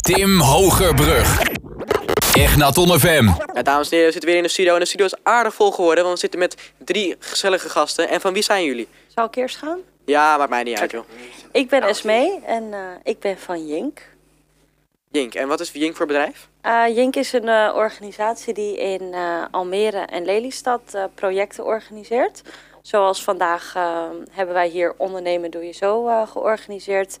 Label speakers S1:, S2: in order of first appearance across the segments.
S1: Tim Hogerbrug. Egnaton FM.
S2: Nou, dames en heren, we zitten weer in de studio. En de studio is aardig vol geworden, want we zitten met drie gezellige gasten. En van wie zijn jullie?
S3: Zal ik eerst gaan?
S2: Ja, maakt mij niet uit, joh.
S3: Ik ben Esmee en eh, ik ben van Jink.
S2: Jink. En wat is Jink voor bedrijf?
S3: Eh Jink is een eh, organisatie die in eh, Almere en Lelystad eh, projecten organiseert. Zoals vandaag eh, hebben wij hier Ondernemen Doe Je Zo eh, georganiseerd.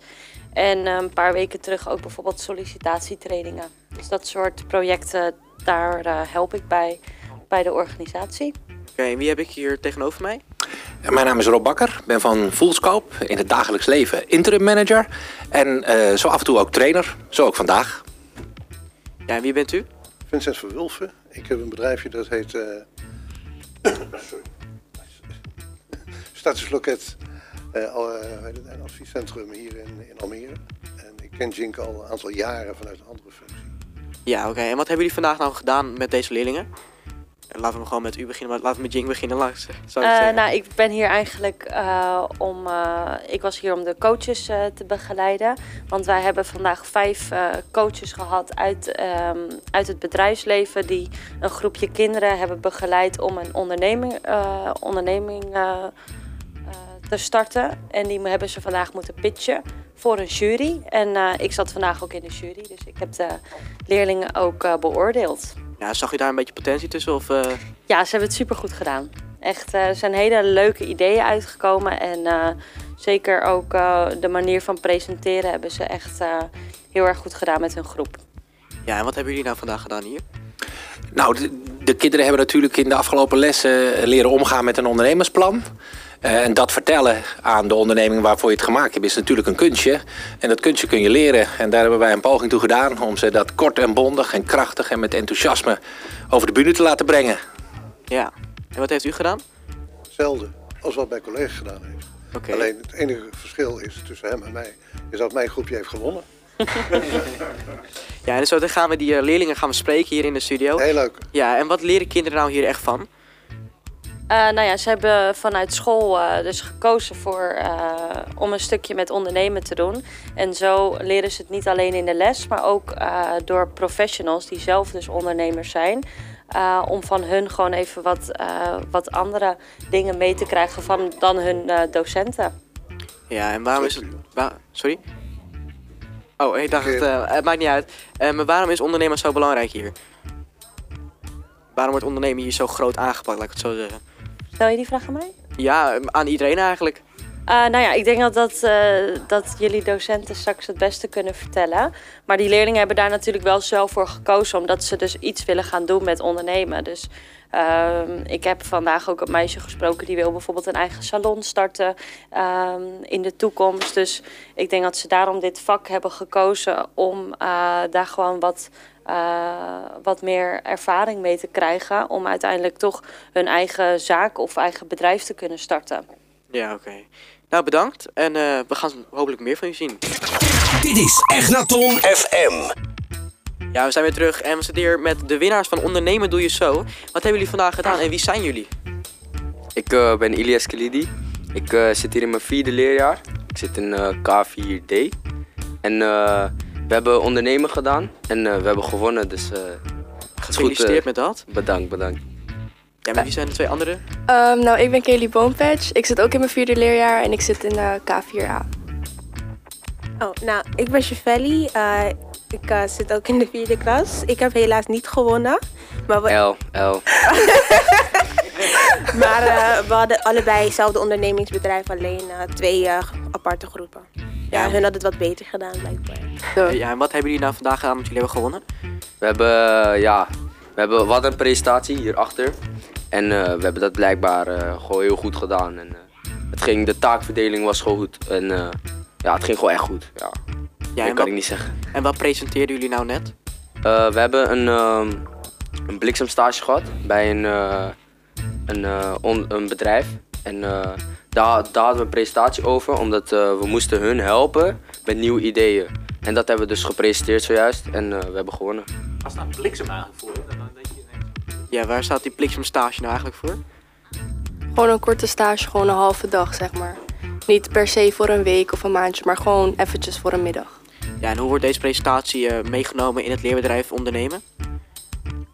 S3: En eh, een paar weken terug ook bijvoorbeeld sollicitatietrainingen. Dus dat soort projecten, daar eh, help ik bij, bij de organisatie.
S2: Oké, en wie heb ik hier tegenover mij?
S4: Ja, Mijn naam is Rob Bakker, ben van Fullscope, in het dagelijks leven interim manager en eh, zo af en toe ook trainer, zo ook vandaag.
S2: Ja, en wie bent u?
S5: Vincent van Wulven. Ik heb een bedrijfje dat heet. eh sorry. Statusloket. eh, al- eh, hoe heet het, een adviescentrum hier in, in Almere. En ik ken Jink al een aantal jaren vanuit een andere functie.
S2: Ja, oké. En wat hebben jullie vandaag nou gedaan met deze leerlingen? Eh, Laten we hem gewoon met u beginnen, maar laten we met Jink beginnen langs. Zou ik
S3: Eh,
S2: zeggen.
S3: nou, ik ben hier eigenlijk eh, om. eh, ik was hier om de coaches eh, te begeleiden. Want wij hebben vandaag vijf eh, coaches gehad uit, ehm, uit het bedrijfsleven. die een groepje kinderen hebben begeleid om een onderneming, eh, onderneming eh, eh, te starten. En die hebben ze vandaag moeten pitchen voor een jury. En eh, ik zat vandaag ook in de jury. Dus ik heb de leerlingen ook eh, beoordeeld.
S2: Ja, zag je daar een beetje potentie tussen? Of, eh,
S3: Ja, ze hebben het supergoed gedaan. Echt, eh, er zijn hele leuke ideeën uitgekomen. En eh, zeker ook eh, de manier van presenteren hebben ze echt eh, heel erg goed gedaan met hun groep.
S2: Ja, en wat hebben jullie nou vandaag gedaan hier?
S4: Nou, de, de kinderen hebben natuurlijk in de afgelopen lessen eh, leren omgaan met een ondernemersplan. Eh, en dat vertellen aan de onderneming waarvoor je het gemaakt hebt is natuurlijk een kunstje. En dat kunstje kun je leren. En daar hebben wij een poging toe gedaan om ze dat kort en bondig en krachtig en met enthousiasme over de bühne te laten brengen.
S2: Ja. En wat heeft u gedaan?
S5: Hetzelfde als wat mijn collega gedaan heeft.
S2: Oké.
S5: Alleen het enige verschil is tussen hem en mij. Is dat mijn groepje heeft gewonnen.
S2: Ja, en zo dan gaan we die eh, leerlingen gaan we spreken hier in de studio.
S5: Heel leuk.
S2: Ja, en wat leren kinderen nou hier echt van?
S3: Eh, nou ja, ze hebben vanuit school eh, dus gekozen voor, eh, om een stukje met ondernemen te doen. En zo leren ze het niet alleen in de les, maar ook eh, door professionals die zelf dus ondernemers zijn. eh, om van hun gewoon even wat, eh, wat andere dingen mee te krijgen van dan hun eh, docenten.
S2: Ja, en waarom is het... wa- Sorry? Oh, ik dacht, het,
S5: Oké.
S2: eh, het maakt niet uit. Eh, maar waarom is ondernemen zo belangrijk hier? Waarom wordt ondernemen hier zo groot aangepakt, laat ik het zo zeggen?
S3: Stel je die vraag aan mij?
S2: Ja, eh, aan iedereen eigenlijk.
S3: Eh, nou ja, ik denk dat, dat, eh, dat jullie docenten straks het beste kunnen vertellen. Maar die leerlingen hebben daar natuurlijk wel zelf voor gekozen, omdat ze dus iets willen gaan doen met ondernemen. Dus ehm, ik heb vandaag ook een meisje gesproken die wil bijvoorbeeld een eigen salon starten ehm, in de toekomst. Dus ik denk dat ze daarom dit vak hebben gekozen om eh, daar gewoon wat, eh, wat meer ervaring mee te krijgen. Om uiteindelijk toch hun eigen zaak of eigen bedrijf te kunnen starten.
S2: Ja, oké. Nou, bedankt. En eh, we gaan hopelijk meer van u zien.
S1: Dit is Egnaton FM.
S2: Ja, we zijn weer terug en we zitten hier met de winnaars van Ondernemen Doe Je Zo. Wat hebben jullie vandaag gedaan en wie zijn jullie?
S6: Ik eh, ben Ilias Kalidi. Ik eh, zit hier in mijn vierde leerjaar. Ik zit in eh, K4D. En eh, we hebben ondernemen gedaan en eh, we hebben gewonnen. Dus eh, het is goed. eh,
S2: Gefeliciteerd met dat.
S6: bedankt, bedankt.
S2: Ja, maar wie zijn de twee anderen?
S7: Ehm, nou, ik ben Kelly Boompatch. Ik zit ook in mijn vierde leerjaar en ik zit in eh, K4A.
S8: Oh, nou, ik ben Chevelli. Eh, ik eh, zit ook in de vierde klas. Ik heb helaas niet gewonnen. Maar, we,
S6: L, L.
S8: maar eh, we hadden allebei hetzelfde ondernemingsbedrijf, alleen eh, twee eh, aparte groepen. Ja, hun hadden het wat beter gedaan, blijkbaar.
S2: Ja, en wat hebben jullie nou vandaag gedaan dat jullie hebben gewonnen?
S6: We hebben, eh, ja, we hebben wat een presentatie hierachter. En eh, we hebben dat blijkbaar eh, gewoon heel goed gedaan. En, eh, het ging, de taakverdeling was gewoon goed. En eh, ja, het ging gewoon echt goed. Ja,
S2: Ja,
S6: dat
S2: en
S6: kan
S2: wat,
S6: ik niet zeggen.
S2: en wat presenteerden jullie nou net?
S6: Eh, we hebben een, ehm, een bliksemstage gehad bij een, eh, een, eh, on- een bedrijf. En eh, daar, daar hadden we een presentatie over, omdat eh, we moesten hun helpen met nieuwe ideeën. En dat hebben we dus gepresenteerd zojuist en eh, we hebben gewonnen.
S2: Ja, waar staat die bliksemstage nou eigenlijk voor?
S7: Gewoon een korte stage, gewoon een halve dag, zeg maar. Niet per se voor een week of een maandje, maar gewoon eventjes voor een middag.
S2: Ja, en hoe wordt deze presentatie eh, meegenomen in het leerbedrijf ondernemen?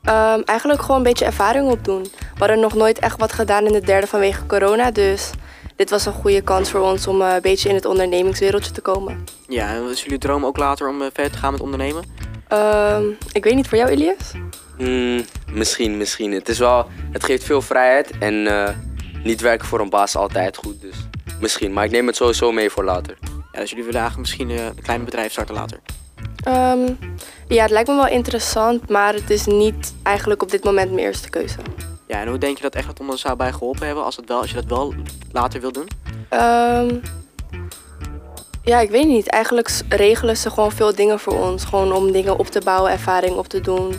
S7: Ehm, eigenlijk gewoon een beetje ervaring opdoen. We hadden nog nooit echt wat gedaan in de derde vanwege corona. Dus dit was een goede kans voor ons om eh, een beetje in het ondernemingswereldje te komen.
S2: Ja, en wat is jullie droom ook later om eh, verder te gaan met ondernemen?
S7: Ehm, ik weet niet voor jou, Elias.
S6: Hmm, misschien, misschien. Het, is wel, het geeft veel vrijheid en eh, niet werken voor een baas is altijd goed. Dus misschien, maar ik neem het sowieso mee voor later.
S2: Ja, dus jullie willen eigenlijk misschien eh, een klein bedrijf starten later.
S7: Ehm, ja, het lijkt me wel interessant, maar het is niet eigenlijk op dit moment mijn eerste keuze.
S2: Ja, en hoe denk je dat echt dat ons zou bij geholpen hebben als, het wel, als je dat wel later wil doen?
S7: Ehm, ja, ik weet niet. Eigenlijk s- regelen ze gewoon veel dingen voor ons. Gewoon om dingen op te bouwen, ervaring op te doen.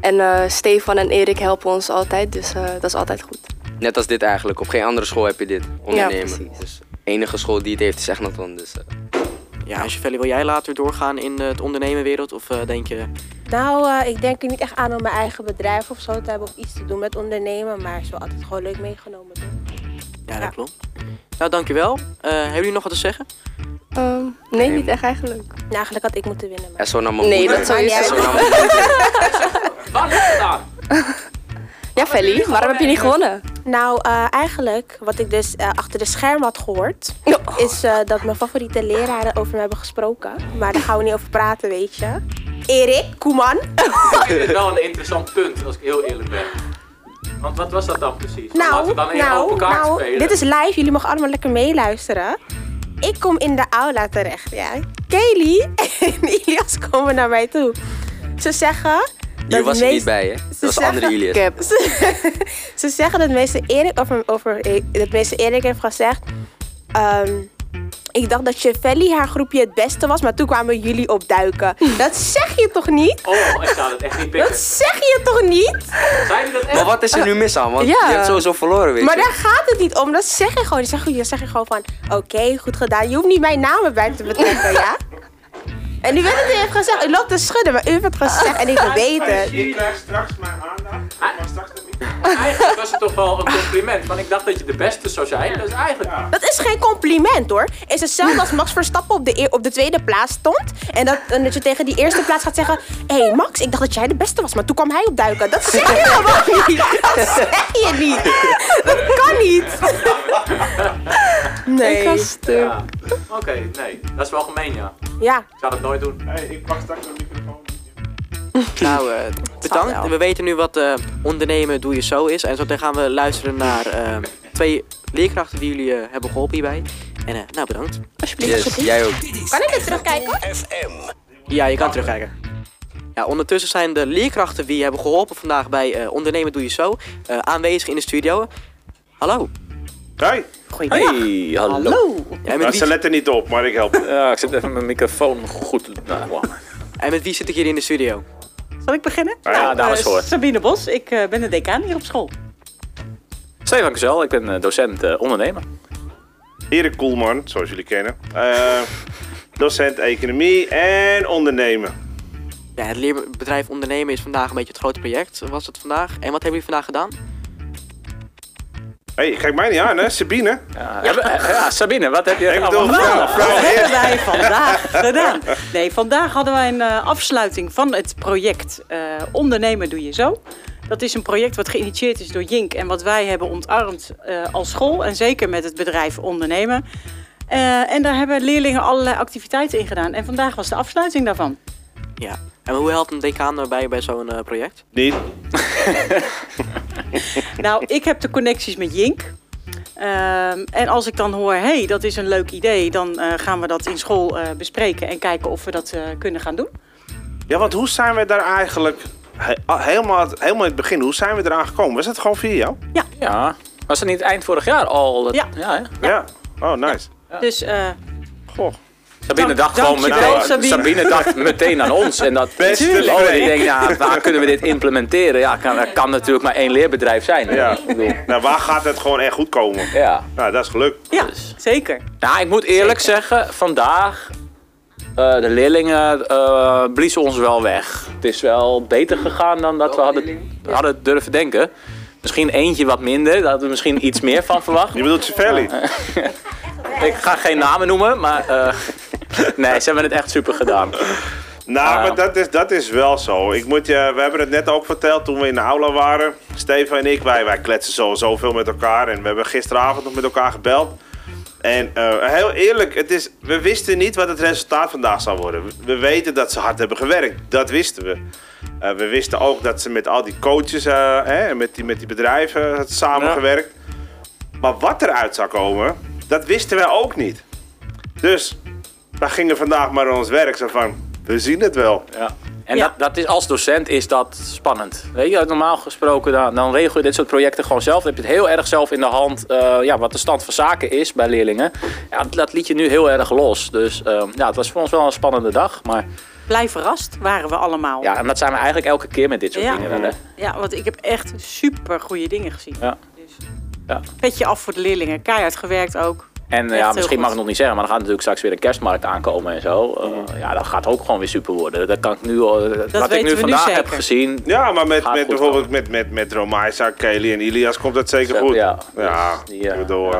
S7: En eh, Stefan en Erik helpen ons altijd, dus eh, dat is altijd goed.
S6: Net als dit eigenlijk. Op geen andere school heb je dit. Ondernemen.
S7: precies.
S6: dus de enige school die het heeft is Egnaton. Dus, eh,
S2: Ja, en Chevelli, wil jij later doorgaan in eh, het ondernemenwereld? Of eh, denk je,
S8: Nou, eh, ik denk er niet echt aan om mijn eigen bedrijf of zo te hebben of iets te doen met ondernemen, maar het is wel altijd gewoon leuk meegenomen. Doen.
S2: ja,
S8: Ja.
S2: dat klopt. Nou, dankjewel. Eh, hebben jullie nog wat te zeggen?
S7: Ehm, nee, niet echt eigenlijk.
S8: Nou, eigenlijk had ik moeten winnen. Maar...
S6: SO nam mijn
S7: Nee,
S6: moeder.
S7: dat zou je
S6: SO
S7: zeggen.
S6: nam mijn moeder.
S7: Ja, Feli, waarom heb je niet gewonnen?
S8: Nou, eh, eigenlijk, wat ik dus eh, achter de scherm had gehoord,
S7: Oh.
S8: is eh, dat mijn favoriete leraren over me hebben gesproken. Maar daar gaan we niet over praten, weet je. Erik Koeman.
S9: vind het wel een interessant punt, als ik heel eerlijk ben. Want wat was dat dan precies? Laten we
S8: Nou,
S9: dan even
S8: nou,
S9: open kaart
S8: nou,
S9: spelen.
S8: dit is live. Jullie mogen allemaal lekker meeluisteren. Ik kom in de aula terecht, ja. Kaylee en Ilias komen naar mij toe. Ze zeggen...
S6: Hier was ik
S8: meest-
S6: niet bij, hè? Dat was
S8: zeggen-
S6: andere Ilias.
S7: Ik heb
S8: Ze, ze zeggen dat meester Erik, over, over, dat meester Erik heeft gezegd... ehm, ik dacht dat Chevelli haar groepje het beste was, maar toen kwamen jullie opduiken. Dat zeg je toch niet?
S9: Oh, ik zou dat echt niet pikken.
S8: Dat zeg je toch niet?
S9: Zijn jullie dat echt?
S6: Maar wat is er nu mis aan? Want
S7: Ja.
S6: je hebt sowieso verloren, weet
S8: Maar
S6: je.
S8: daar gaat het niet om. Dat zeg je gewoon. Dan zeg je, dan zeg je gewoon van, oké, goed gedaan. Je hoeft niet mijn naam erbij te betrekken, ja? En u weet het, u heeft gezegd, u loopt te schudden, maar u heeft het gezegd en ik weet het.
S9: Je krijgt straks mijn aandacht. Maar straks Eigenlijk was het toch wel een compliment, want ik dacht dat je de beste zou zijn. Dus eigenlijk...
S8: Dat is geen compliment hoor. Is hetzelfde als Max Verstappen op de, eer- op de tweede plaats stond. En dat, en dat je tegen die eerste plaats gaat zeggen: Hé hey Max, ik dacht dat jij de beste was, maar toen kwam hij opduiken. Dat zeg je gewoon niet. Dat zeg je niet. Dat kan niet.
S7: Ik
S8: Nee.
S7: ga stuk.
S9: Ja. Oké, nee. Dat is wel gemeen, ja.
S8: Ja,
S9: Ik zou dat nooit doen.
S2: Nou, eh,
S8: zal wel.
S2: bedankt. We weten nu wat eh, ondernemen doe je zo is. En zo meteen gaan we luisteren naar eh, twee leerkrachten die jullie eh, hebben geholpen hierbij. En eh, nou, bedankt.
S6: Yes, jij ook.
S8: kan ik het terugkijken?
S2: Ja, je kan terugkijken. Ja, ondertussen zijn de leerkrachten die hebben geholpen vandaag bij eh, Ondernemen Doe Je Zo eh, aanwezig in de studio. Hallo.
S4: Hoi. Hey, hallo.
S2: Ja, en,
S4: Nou,
S2: met
S4: ze
S2: wie,
S4: letten niet op, maar ik help. Ja, ik zet even mijn microfoon goed. Nou, wow.
S2: en met wie zit ik hier in de studio?
S3: Zal ik beginnen?
S4: Ja, dames
S3: eh,
S4: voor.
S3: Sabine Bos, ik eh, ben de decaan hier op school.
S4: Stefan Kuzel, ik ben eh, docent eh, ondernemer.
S5: Erik Koelman, zoals jullie kennen. Eh, docent economie en ondernemen.
S2: Ja, het leerbedrijf Ondernemen is vandaag een beetje het grote project, was het vandaag. En wat hebben jullie vandaag gedaan?
S5: Hé, hey, kijk mij niet aan, hè? Sabine.
S4: Ja, hebben- eh, ja, Sabine, wat heb je
S5: Ik bedoel,
S4: allemaal
S5: vrouw, vrouw.
S3: Wat hebben wij vandaag gedaan? Nee, vandaag hadden wij een eh, afsluiting van het project eh, Ondernemen Doe Je Zo. Dat is een project wat geïnitieerd is door Jink en wat wij hebben ontarmd eh, als school. En zeker met het bedrijf Ondernemen. Eh, en daar hebben leerlingen allerlei activiteiten in gedaan. En vandaag was de afsluiting daarvan.
S2: Ja. En hoe helpt een decaan daarbij bij zo'n eh, project?
S5: Niet.
S3: Nou, ik heb de connecties met Jink. Ehm, en als ik dan hoor, hé, hey, dat is een leuk idee, dan eh, gaan we dat in school eh, bespreken en kijken of we dat eh, kunnen gaan doen.
S5: Ja, want hoe zijn we daar eigenlijk... he- ah, helemaal, helemaal in het begin, hoe zijn we eraan gekomen? Was het gewoon via jou?
S4: Ja. Was het niet eind vorig jaar al? dat-
S3: Ja.
S4: ja hè?
S5: Ja. Oh, nice.
S3: Dus eh,
S5: Goh.
S4: Sabine
S3: Dank-
S4: dacht gewoon meteen,
S3: dankjewel,
S4: Sabine.
S3: Sabine.
S4: dacht meteen aan ons. En dat
S5: Beste
S4: Oh,
S5: Freek.
S4: die denkt, nou, waar kunnen we dit implementeren? Ja, kan, er kan natuurlijk maar één leerbedrijf zijn. hè?
S5: Ja.
S4: Ik bedoel,
S5: Nou, waar gaat het gewoon echt goed komen?
S4: ja.
S5: Nou, dat is gelukt.
S3: ja, zeker.
S4: Nou, ik moet eerlijk zeggen, vandaag, eh, de leerlingen eh, bliezen ons wel weg. Het is wel beter gegaan dan dat we hadden, hadden durven denken. Misschien eentje wat minder, daar hadden we misschien iets meer van verwacht.
S5: Je bedoelt Cervelli.
S4: Ik ga geen namen noemen, maar eh,
S2: Nee, ze hebben het echt super gedaan. Eh,
S4: Nou, maar dat is, dat is wel zo. Ik moet je, we hebben het net ook verteld toen we in de aula waren. Steven en ik, wij, wij kletsen sowieso veel met elkaar. En we hebben gisteravond nog met elkaar gebeld. En eh, heel eerlijk, het is, we wisten niet wat het resultaat vandaag zou worden. We- We weten dat ze hard hebben gewerkt. Dat wisten we. Eh, we wisten ook dat ze met al die coaches eh, hè, en met die, met die bedrijven had samengewerkt. Maar wat eruit zou komen, dat wisten wij ook niet. Dus we gingen vandaag maar aan ons werk. Zo van, we zien het wel.
S2: Ja. En Dat, dat is, als docent is dat spannend. Weet je, normaal gesproken dan, dan regel je dit soort projecten gewoon zelf. Dan heb je het heel erg zelf in de hand eh, ja, wat de stand van zaken is bij leerlingen. Ja, dat- dat liet je nu heel erg los. Dus ehm, ja, het was voor ons wel een spannende dag. Maar
S10: Blij verrast waren we allemaal.
S2: ja, en dat zijn we eigenlijk elke keer met dit soort
S10: Ja.
S2: dingen. eh, wel, hè?
S10: Ja, want ik heb echt super goede dingen gezien. Dus
S2: Ja. Ja.
S10: Petje af voor de leerlingen. Keihard gewerkt ook.
S2: En eh,
S10: Echt
S2: ja,
S10: heel
S2: misschien
S10: goed.
S2: mag ik het nog niet zeggen, maar dan gaat natuurlijk straks weer een kerstmarkt aankomen en zo. Eh, ja, dat gaat ook gewoon weer super worden. Dat kan ik nu al. wat ik
S4: weten
S2: nu
S4: we nu
S2: vandaag heb
S4: zeker.
S2: gezien.
S4: Ja, maar met,
S2: Gaat
S4: met
S2: goed
S4: bijvoorbeeld met, met, met Romaisa, Kelly en Ilias komt dat zeker goed. Ja, ja, ik bedoel...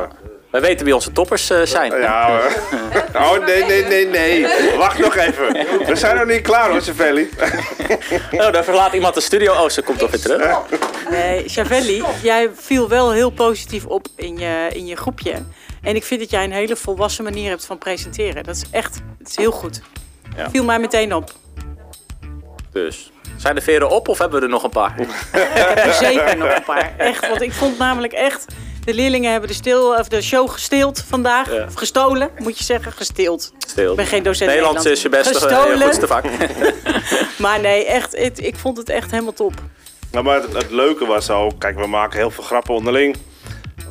S2: We weten wie onze toppers eh, zijn.
S4: Ja hoor. Oh nee, nee, nee, nee. Wacht nog even. We zijn nog niet klaar hoor, Savelli.
S2: Oh, daar verlaat iemand de studio. Oh, ze komt toch weer terug.
S10: Nee, Eh, Chavelli, jij viel wel heel positief op in je, in je groepje. En ik vind dat jij een hele volwassen manier hebt van presenteren. Dat is echt het is heel goed.
S2: Ja.
S10: Viel mij meteen op.
S2: Dus. Zijn de veren op of hebben we er nog een paar?
S10: Zeker nog een paar. Echt, want ik vond namelijk echt... De leerlingen hebben de, stil, of de show gesteeld vandaag.
S2: Ja.
S10: Of gestolen, moet je zeggen. Gesteeld.
S2: Stil.
S10: Ik ben geen docent
S2: Nederlands is je beste, eh,
S10: Gestolen.
S2: je goedste vak.
S10: Maar nee, echt, het- ik vond het echt helemaal top.
S4: Nou, maar het, het leuke was ook, kijk, we maken heel veel grappen onderling.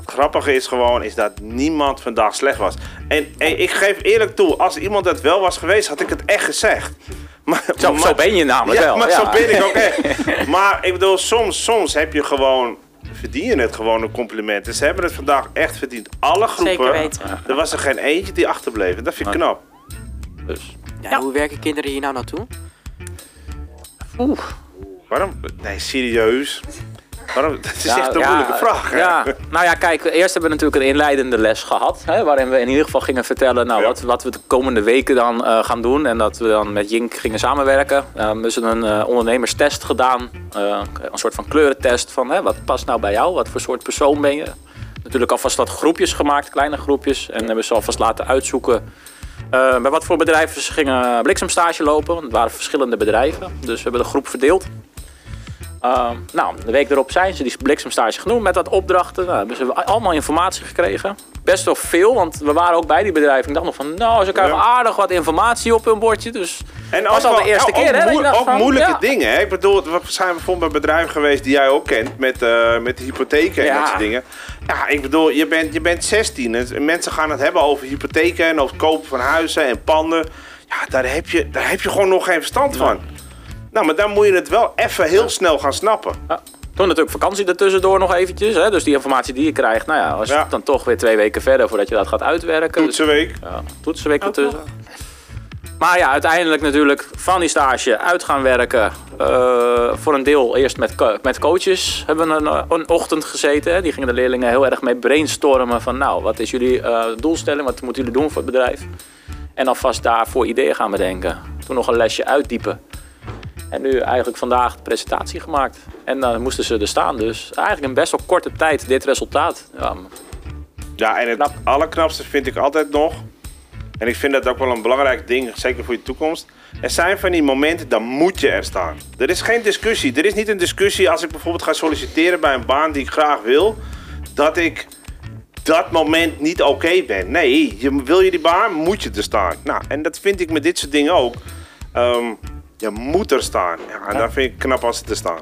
S4: Het grappige is gewoon, is dat niemand vandaag slecht was. En, en ik geef eerlijk toe, als iemand dat wel was geweest, had ik het echt gezegd. Maar,
S2: Zo- zo ben je namelijk
S4: ja,
S2: wel,
S4: maar
S2: ja.
S4: zo ben ik ook echt. Maar ik bedoel, soms, soms heb je gewoon, verdien je het gewoon een compliment. En ze hebben het vandaag echt verdiend. Alle groepen,
S11: Zeker weten.
S4: er was er geen eentje die achterbleef. En dat vind ik knap.
S11: Ja, Hoe werken kinderen hier nou naartoe?
S2: Oeh.
S4: Waarom? Nee, serieus. Waarom? Dat is echt een
S2: Nou, ja,
S4: moeilijke vraag. hè?
S2: Ja. Nou ja, kijk, eerst hebben we natuurlijk een inleidende les gehad. Hè, waarin we in ieder geval gingen vertellen nou, wat, wat we de komende weken dan eh, gaan doen. En dat we dan met Jink gingen samenwerken. Ehm dus een eh, ondernemerstest gedaan. Eh, een soort van kleurentest van hè, wat past nou bij jou? Wat voor soort persoon ben je? Natuurlijk alvast wat groepjes gemaakt, kleine groepjes. En hebben ze alvast laten uitzoeken eh, bij wat voor bedrijven ze gingen bliksemstage lopen. Want het waren verschillende bedrijven. Dus we hebben de groep verdeeld. Uh, nou, de week erop zijn ze die bliksemstage genoemd met wat opdrachten. Nou, hebben ze allemaal informatie gekregen. Best wel veel, want we waren ook bij die bedrijven. Ik dacht nog van, nou, ze krijgen aardig wat informatie op hun bordje. Dus
S4: En
S2: was al
S4: wel-
S2: de eerste
S4: ook
S2: keer, hè? dat
S4: moe-
S2: ik dacht
S4: ook
S2: van,
S4: moeilijke
S2: ja.
S4: dingen, hè? Ik bedoel, we zijn bijvoorbeeld bij bedrijven geweest die jij ook kent, met, eh, met de hypotheken en
S2: Ja.
S4: dat soort dingen. Ja, ik bedoel, je bent, je bent 16 en mensen gaan het hebben over hypotheken en over het kopen van huizen en panden. Ja, daar heb je, daar heb je gewoon nog geen verstand van. Nou, maar dan moet je het wel even heel snel gaan snappen.
S2: Toen natuurlijk vakantie ertussendoor nog eventjes. Hè? Dus die informatie die je krijgt, nou ja, was het dan toch weer twee weken verder voordat je dat gaat uitwerken. Dus
S4: Toetsenweek.
S2: Ja, toetsenweek ertussen. Maar ja, uiteindelijk natuurlijk van die stage uit gaan werken. Eh, voor een deel eerst met, co- met coaches hebben we een, eh, een ochtend gezeten. Hè. Die gingen de leerlingen heel erg mee brainstormen van nou, wat is jullie eh, doelstelling? Wat moeten jullie doen voor het bedrijf? En alvast daarvoor ideeën gaan bedenken. Toen nog een lesje uitdiepen. En nu eigenlijk vandaag de presentatie gemaakt. En dan moesten ze er staan. Dus eigenlijk in best wel korte tijd dit resultaat. Ja,
S4: Ja, en het allerknapste vind ik altijd nog. En ik vind dat ook wel een belangrijk ding, zeker voor je toekomst. Er zijn van die momenten, dan moet je er staan. Er is geen discussie. Er is niet een discussie als ik bijvoorbeeld ga solliciteren bij een baan die ik graag wil. Dat ik dat moment niet oké ben. Nee, je, wil je die baan, moet je er staan. Nou, en dat vind ik met dit soort dingen ook. Ehm, je moet er staan. Ja, en dat vind ik knap als ze er staan.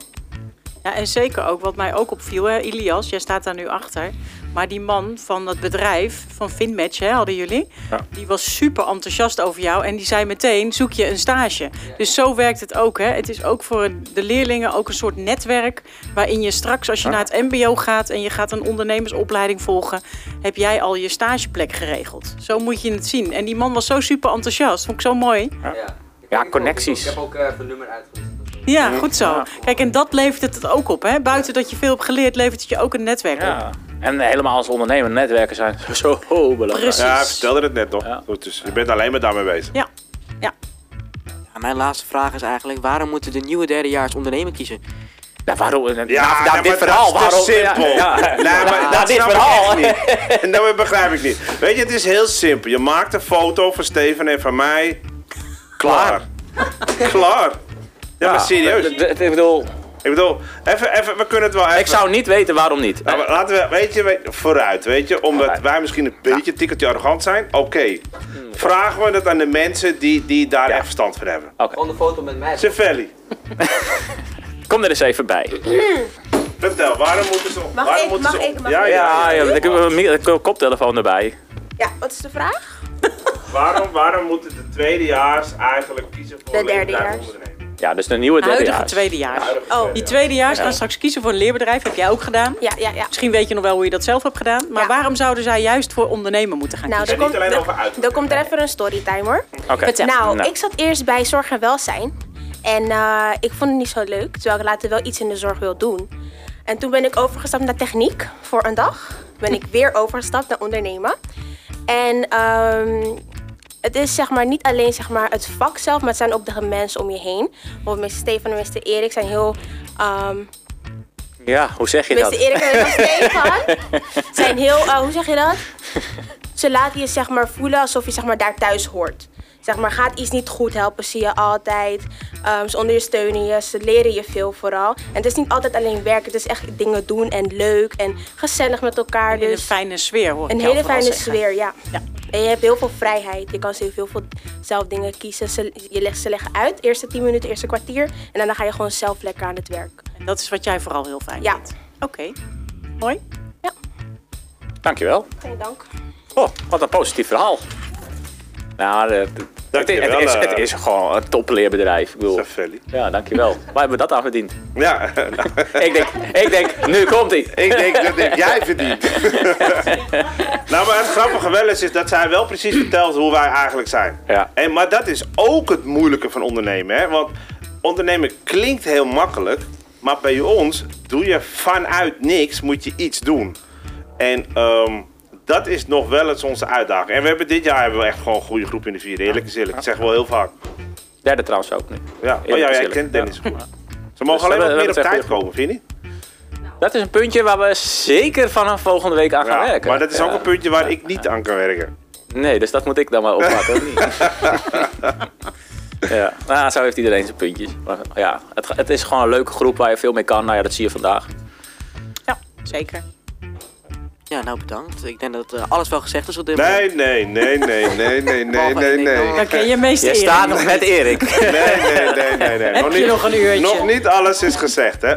S10: Ja, en zeker ook, wat mij ook opviel, hè, Ilias, jij staat daar nu achter. Maar die man van dat bedrijf, van Finmatch, hè, hadden jullie, die was super enthousiast over jou. En die zei meteen, zoek je een stage. Dus zo werkt het ook. Hè. Het is ook voor de leerlingen ook een soort netwerk... waarin je straks, als je naar het mbo gaat en je gaat een ondernemersopleiding volgen... heb jij al je stageplek geregeld. Zo moet je het zien. En die man was zo super enthousiast, vond ik zo mooi.
S2: Ja, connecties.
S6: Ik heb ook eh, even een nummer uitgewisseld.
S10: Ja, goed zo. Kijk, en dat levert het ook op. Hè? Buiten dat je veel hebt geleerd, levert het je ook een netwerk
S2: Ja.
S10: op.
S2: En helemaal als ondernemer, netwerken zijn zo belangrijk.
S10: Precies.
S4: Ja, hij vertelde het net nog. Goed, dus je bent alleen maar daarmee bezig.
S10: Ja.
S11: Ja, mijn laatste vraag is eigenlijk, waarom moeten de nieuwe derdejaars ondernemer kiezen?
S2: Ja, waarom? Ja,
S4: Ja,
S2: na
S4: nee,
S2: dit
S4: maar
S2: verhaal,
S4: dat is te
S2: waarom-
S4: simpel.
S2: ja, ja.
S4: Nee,
S2: Ja,
S4: Nou, maar
S2: na
S4: dat
S2: dit
S4: snap
S2: verhaal.
S4: ik echt niet. Nou, Dat begrijp ik niet. Weet je, het is heel simpel. Je maakt een foto van Steven en van mij. Klaar. Klaar. Ja, maar serieus.
S2: d- d- Ik bedoel...
S4: Ik bedoel, even, even, we kunnen het wel even... Ik
S2: zou niet weten waarom niet.
S4: Nou, maar laten we, weet je, weet- vooruit, weet je. Omdat wij misschien een beetje een tikkeltje arrogant zijn. Oké. Vragen we het aan de mensen die, die daar echt verstand van hebben.
S2: Oké.
S6: Gewoon een foto met mij.
S4: Cervelli,
S2: Kom er eens even bij.
S4: vertel, waarom moeten ze...
S8: Mag
S4: waarom
S8: ik,
S4: moeten
S8: mag
S4: ze
S8: ik, mag
S4: ja,
S2: Ja,
S4: ja,
S2: ja, dan kunnen we een mi- koptelefoon erbij.
S8: Ja, wat is de vraag?
S4: Waarom, waarom moeten de tweedejaars eigenlijk kiezen voor
S8: De derdejaars.
S2: Ja, dus de nieuwe
S10: Huidige
S2: derdejaars.
S10: tweedejaars.
S8: Oh.
S10: Die tweedejaars
S2: Ja.
S10: gaan straks kiezen voor een leerbedrijf. Heb jij ook gedaan.
S8: Ja, ja, ja.
S10: Misschien weet je nog wel hoe je dat zelf hebt gedaan. Maar waarom zouden zij juist voor ondernemen moeten gaan
S8: Nou,
S10: kiezen?
S8: daar komt, daar, daar komt er even een storytime hoor.
S10: Oké. Vertel.
S8: Nou,
S10: Nou.
S8: ik zat eerst bij zorg en welzijn. En eh, ik vond het niet zo leuk, terwijl ik later wel iets in de zorg wil doen. En toen ben ik overgestapt naar techniek voor een dag. Toen ben ik weer overgestapt naar ondernemen. En ehm, het is zeg maar niet alleen zeg maar, het vak zelf, maar het zijn ook de mensen om je heen. Want Mr. Stefan en Mr. Erik zijn heel... ehm
S2: Ja, hoe zeg je
S8: Mr.
S2: dat?
S8: Erik en Mr. Stefan zijn heel... eh, hoe zeg je dat? Ze laten je zeg maar voelen alsof je zeg maar, daar thuis hoort. Zeg maar, gaat iets niet goed helpen, zie je altijd. Ehm, ze ondersteunen je, ze leren je veel vooral. En het is niet altijd alleen werken, het is echt dingen doen en leuk en gezellig met elkaar.
S10: In een
S8: Dus
S10: fijne sfeer hoor. ik
S8: een
S10: jou
S8: hele
S10: vooral
S8: fijne
S10: zeggen.
S8: sfeer, ja. En je hebt heel veel vrijheid. Je kan heel veel zelf dingen kiezen. Ze, je legt, ze leggen uit, eerste 10 minuten, eerste kwartier. En daarna ga je gewoon zelf lekker aan het werk.
S10: En dat is wat jij vooral heel fijn
S8: Ja.
S10: vindt. Oké. Mooi. e-
S2: Dankjewel.
S8: Geen dank.
S2: Oh, wat een positief verhaal. Nou, de- de- het, is- het,
S4: Dankjewel,
S2: is,
S4: eh.
S2: het is gewoon een topleerbedrijf. Ik bedoel, ja, dankjewel. Waar hebben we dat aan verdiend?
S4: Ja.
S2: ik, denk, ik denk, nu komt hij.
S4: Ik denk, dat heb jij verdiend. nou, maar het grappige wel is, is dat zij wel precies vertelt hoe wij eigenlijk zijn.
S2: Ja.
S4: En, maar dat is ook het moeilijke van ondernemen. Hè? Want ondernemen klinkt heel makkelijk. Maar bij ons doe je vanuit niks, moet je iets doen. En ehm, dat is nog wel eens onze uitdaging. En we hebben dit jaar hebben we echt gewoon een goede groep in de vierde. Eerlijk is eerlijk. Ik zeg wel heel vaak.
S2: Derde trouwens ook nu.
S4: Ja. Oh ja, jij kent Dennis goed.
S2: Dus
S4: Ze mogen alleen wat meer op tijd komen, vind je niet?
S2: Dat is een puntje waar we zeker vanaf volgende week aan gaan
S4: Ja,
S2: werken.
S4: maar dat is
S2: Ja.
S4: ook een puntje waar ik niet aan kan werken.
S2: Nee, dus dat moet ik dan maar oppakken. of niet? ja, nou, zo heeft iedereen zijn puntjes. Maar ja, het, het is gewoon een leuke groep waar je veel mee kan. Nou ja, dat zie je vandaag.
S10: Ja, zeker.
S11: Ja, nou bedankt. Ik denk dat eh, alles wel gezegd is op dit moment.
S4: Nee, nee, nee, nee, nee, nee, nee, nee, nee.
S10: Dan ken je meester
S2: Je
S10: Erik.
S2: staat nog met Erik.
S4: Nee, nee, nee, nee, nee.
S10: Heb je nog een uurtje?
S4: Nog niet alles is gezegd, hè.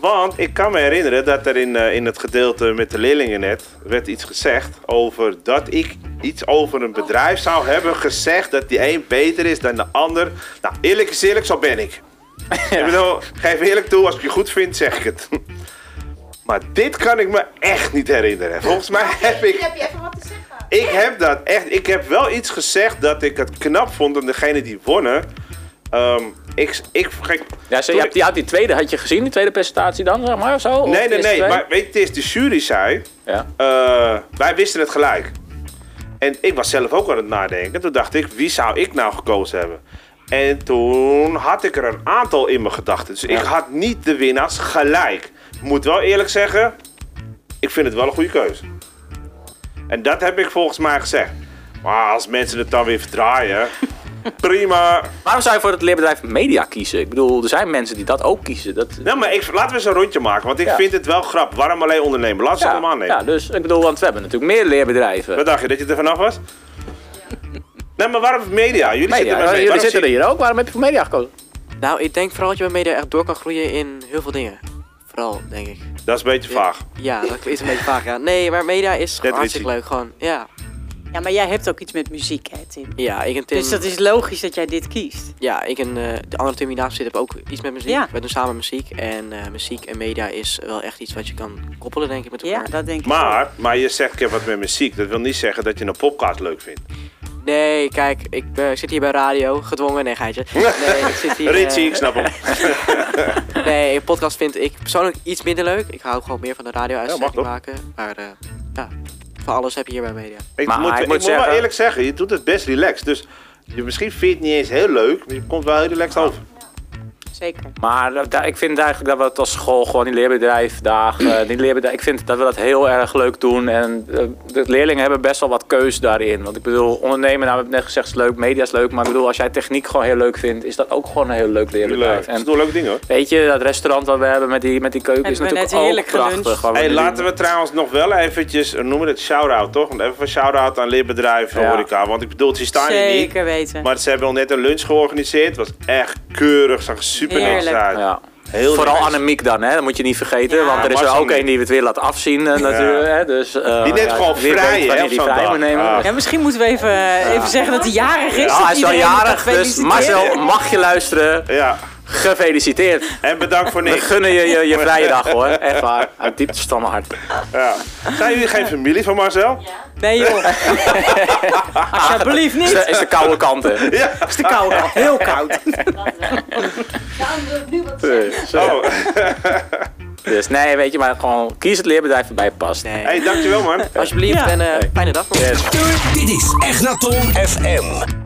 S4: Want ik kan me herinneren dat er in, eh, in het gedeelte met de leerlingen net werd iets gezegd over dat ik iets over een bedrijf zou hebben gezegd dat die een beter is dan de ander. Nou, eerlijk is eerlijk, zo ben ik. Ik bedoel, geef eerlijk toe, als ik je goed vind, zeg ik het. Maar dit kan ik me echt niet herinneren. Volgens mij heb ik
S8: Heb je even wat te zeggen?
S4: ik heb dat echt. Ik heb wel iets gezegd dat ik het knap vond aan degene die wonnen. Ehm, ik, ik, kijk,
S2: Ja, zo, je hebt die, had die tweede, had je gezien, die tweede presentatie dan, zeg maar, of zo? Of
S4: nee,
S2: de
S4: nee,
S2: eerste
S4: nee.
S2: twee?
S4: Maar weet je, het is de jury zei.
S2: Ja.
S4: eh, wij wisten het gelijk. En ik was zelf ook aan het nadenken. Toen dacht ik, wie zou ik nou gekozen hebben? En toen had ik er een aantal in mijn gedachten. Dus ik had niet de winnaars gelijk. Ik moet wel eerlijk zeggen, ik vind het wel een goede keuze. En dat heb ik volgens mij gezegd. Maar als mensen het dan weer verdraaien, prima.
S2: Waarom zou je voor het leerbedrijf media kiezen? Ik bedoel, er zijn mensen die dat ook kiezen. Dat,
S4: Nou, maar ik, laten we eens een rondje maken, want ik
S2: Ja.
S4: vind het wel grap. Waarom alleen ondernemen? Laat ze
S2: ja,
S4: allemaal aannemen.
S2: ja, dus ik bedoel, want we hebben natuurlijk meer leerbedrijven.
S4: Wat dacht je, dat je er vanaf was? Nee, maar waarom media? Jullie
S2: Media,
S4: zitten er wel mee.
S2: jullie
S4: Waarom
S2: zitten er
S4: zie-
S2: hier ook. Waarom heb je voor media gekozen?
S11: Nou, ik denk vooral dat je bij media echt door kan groeien in heel veel dingen. Vooral, denk ik.
S4: Dat is een beetje vaag.
S11: Ja, dat is een beetje vaag. Ja. Nee, maar media is gewoon hartstikke leuk. Gewoon, ja.
S10: Ja, maar jij hebt ook iets met muziek, hè, Tim?
S11: Ja, ik en Tim...
S10: Dus dat is logisch dat jij dit kiest.
S11: Ja, ik en eh, de andere Tim die naast zit hebben ook iets met muziek.
S10: Ja.
S11: We doen samen muziek. En eh, muziek en media is wel echt iets wat je kan koppelen, denk ik, met elkaar.
S10: Ja, dat denk ik.
S4: Maar, maar je zegt ik heb wat met muziek. Dat wil niet zeggen dat je een podcast leuk vindt.
S11: Nee, kijk, ik eh, zit hier bij radio, gedwongen, nee geitje. Nee, ik zit hier... eh,
S4: Ritchie, ik snap hem.
S11: nee, een podcast vind ik persoonlijk iets minder leuk. Ik hou gewoon meer van de radio-uitzending
S4: Ja, mag
S11: maken. Maar eh, ja, van alles heb je hier bij media.
S4: Ik moet, ik moet wel eerlijk zeggen, je doet het best relaxed. Dus je, misschien vind je het niet eens heel leuk, maar je komt wel heel relaxed over.
S10: Zeker.
S2: Maar dat- daar- ik vind eigenlijk dat we het als school gewoon die leerbedrijfdagen, eh, die leerbedrijf, ik vind dat we dat heel erg leuk doen. En eh, de leerlingen hebben best wel wat keus daarin. Want ik bedoel, ondernemen, nou, we hebben net gezegd, is leuk, media is leuk. Maar ik bedoel, als jij techniek gewoon heel leuk vindt, is dat ook gewoon een heel leuk leerbedrijf.
S4: Het is doen leuke dingen hoor.
S2: Weet je, dat restaurant wat we hebben met die, met die keuken is natuurlijk ook prachtig. wat we
S4: Hey,
S2: nu
S4: laten
S2: doen.
S4: we trouwens nog wel eventjes, we noemen het shout-out toch? Even een shout-out aan leerbedrijven en
S2: Ja.
S4: horeca. Want ik bedoel, ze staan hier niet.
S10: Zeker weten.
S4: Maar ze hebben al net een lunch georganiseerd. was echt keurig, zag super netjes
S10: Heerlijk.
S4: uit.
S2: Ja.
S4: Heel
S2: Vooral
S4: nice.
S2: Annemiek dan, hè? dat moet je niet vergeten.
S4: Ja.
S2: want er is
S4: Marcel
S2: er ook
S4: niet.
S2: één die het weer laat afzien. eh,
S4: Ja.
S2: natuurlijk, hè? Dus, eh,
S4: Die neemt
S2: ja,
S4: gewoon
S2: wie weet
S4: vrij, hè,
S2: wanneer
S4: op
S2: die
S4: zo'n
S2: vrij
S4: dag. Ah.
S2: moet nemen.
S10: Ja, misschien moeten we even, eh, even zeggen dat hij jarig is.
S2: Ja,
S10: dat
S2: Ah, hij is wel
S10: iedereen hem
S2: jarig,
S10: kan
S2: dus
S10: feliciteren.
S2: Marcel, mag je luisteren?
S4: Ja.
S2: Gefeliciteerd.
S4: En bedankt voor niks.
S2: We gunnen je je, je vrije dag hoor, echt waar. Uit diepte van mijn hart.
S4: Ja. Zijn jullie geen familie van Marcel?
S10: Nee joh. Alsjeblieft niet.
S2: Is de, is de koude kant hè.
S4: Ja.
S10: Is te koud. Heel koud.
S4: Zo.
S2: Dus nee, weet je, maar gewoon kies het leerbedrijf erbij past.
S4: Hey, dankjewel man.
S11: Alsjeblieft en eh, fijne dag nog.
S2: Yes.
S1: Dit is Egnaton FM.